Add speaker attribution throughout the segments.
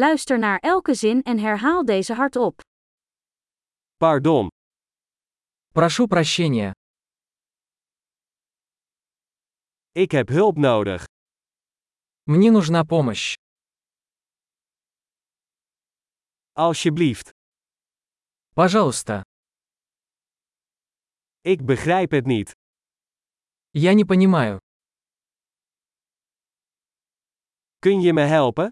Speaker 1: Luister naar elke zin en herhaal deze hardop.
Speaker 2: Pardon.
Speaker 3: Прошу прощения.
Speaker 2: Ik heb hulp nodig.
Speaker 3: Мне нужна помощь.
Speaker 2: Alsjeblieft.
Speaker 3: Пожалуйста.
Speaker 2: Ik begrijp het niet.
Speaker 3: Я не понимаю.
Speaker 2: Kun je me helpen?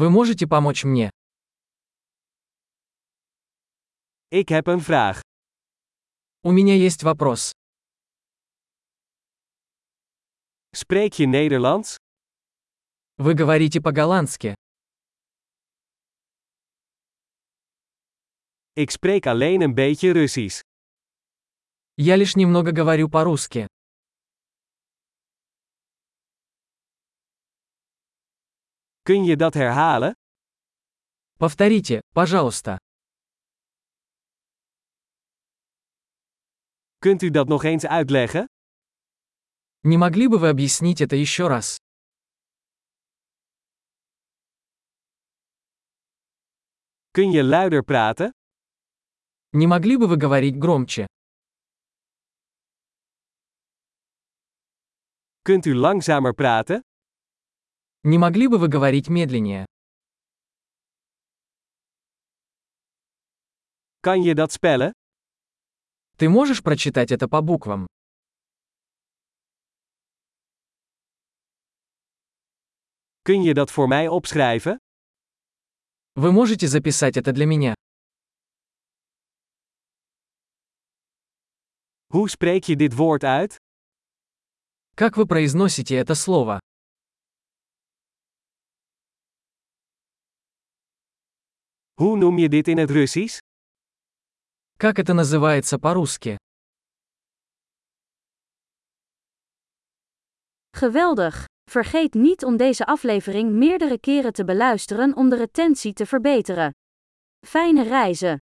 Speaker 3: Вы можете помочь мне?
Speaker 2: Ik heb een vraag.
Speaker 3: У меня есть вопрос.
Speaker 2: Spreek je Nederlands?
Speaker 3: Вы говорите по-голландски.
Speaker 2: Ik spreek alleen een beetje Russisch.
Speaker 3: Я лишь немного говорю по-русски.
Speaker 2: Kun je dat herhalen?
Speaker 3: Повторите, пожалуйста.
Speaker 2: Kunt u dat nog eens uitleggen?
Speaker 3: Не могли бы вы объяснить это еще раз?
Speaker 2: Kun je luider praten?
Speaker 3: Не могли бы вы говорить громче?
Speaker 2: Kunt u langzamer praten?
Speaker 3: Не могли бы вы говорить медленнее?
Speaker 2: Kan je dat spellen?
Speaker 3: Ты можешь прочитать это по буквам?
Speaker 2: Kun je dat voor mij opschrijven?
Speaker 3: Вы можете записать это для меня?
Speaker 2: Hoe spreek je dit woord uit?
Speaker 3: Как вы произносите это слово?
Speaker 2: Hoe noem je dit in het Russisch?
Speaker 3: Как это называется по-русски?
Speaker 1: Geweldig! Vergeet niet om deze aflevering meerdere keren te beluisteren om de retentie te verbeteren. Fijne reizen!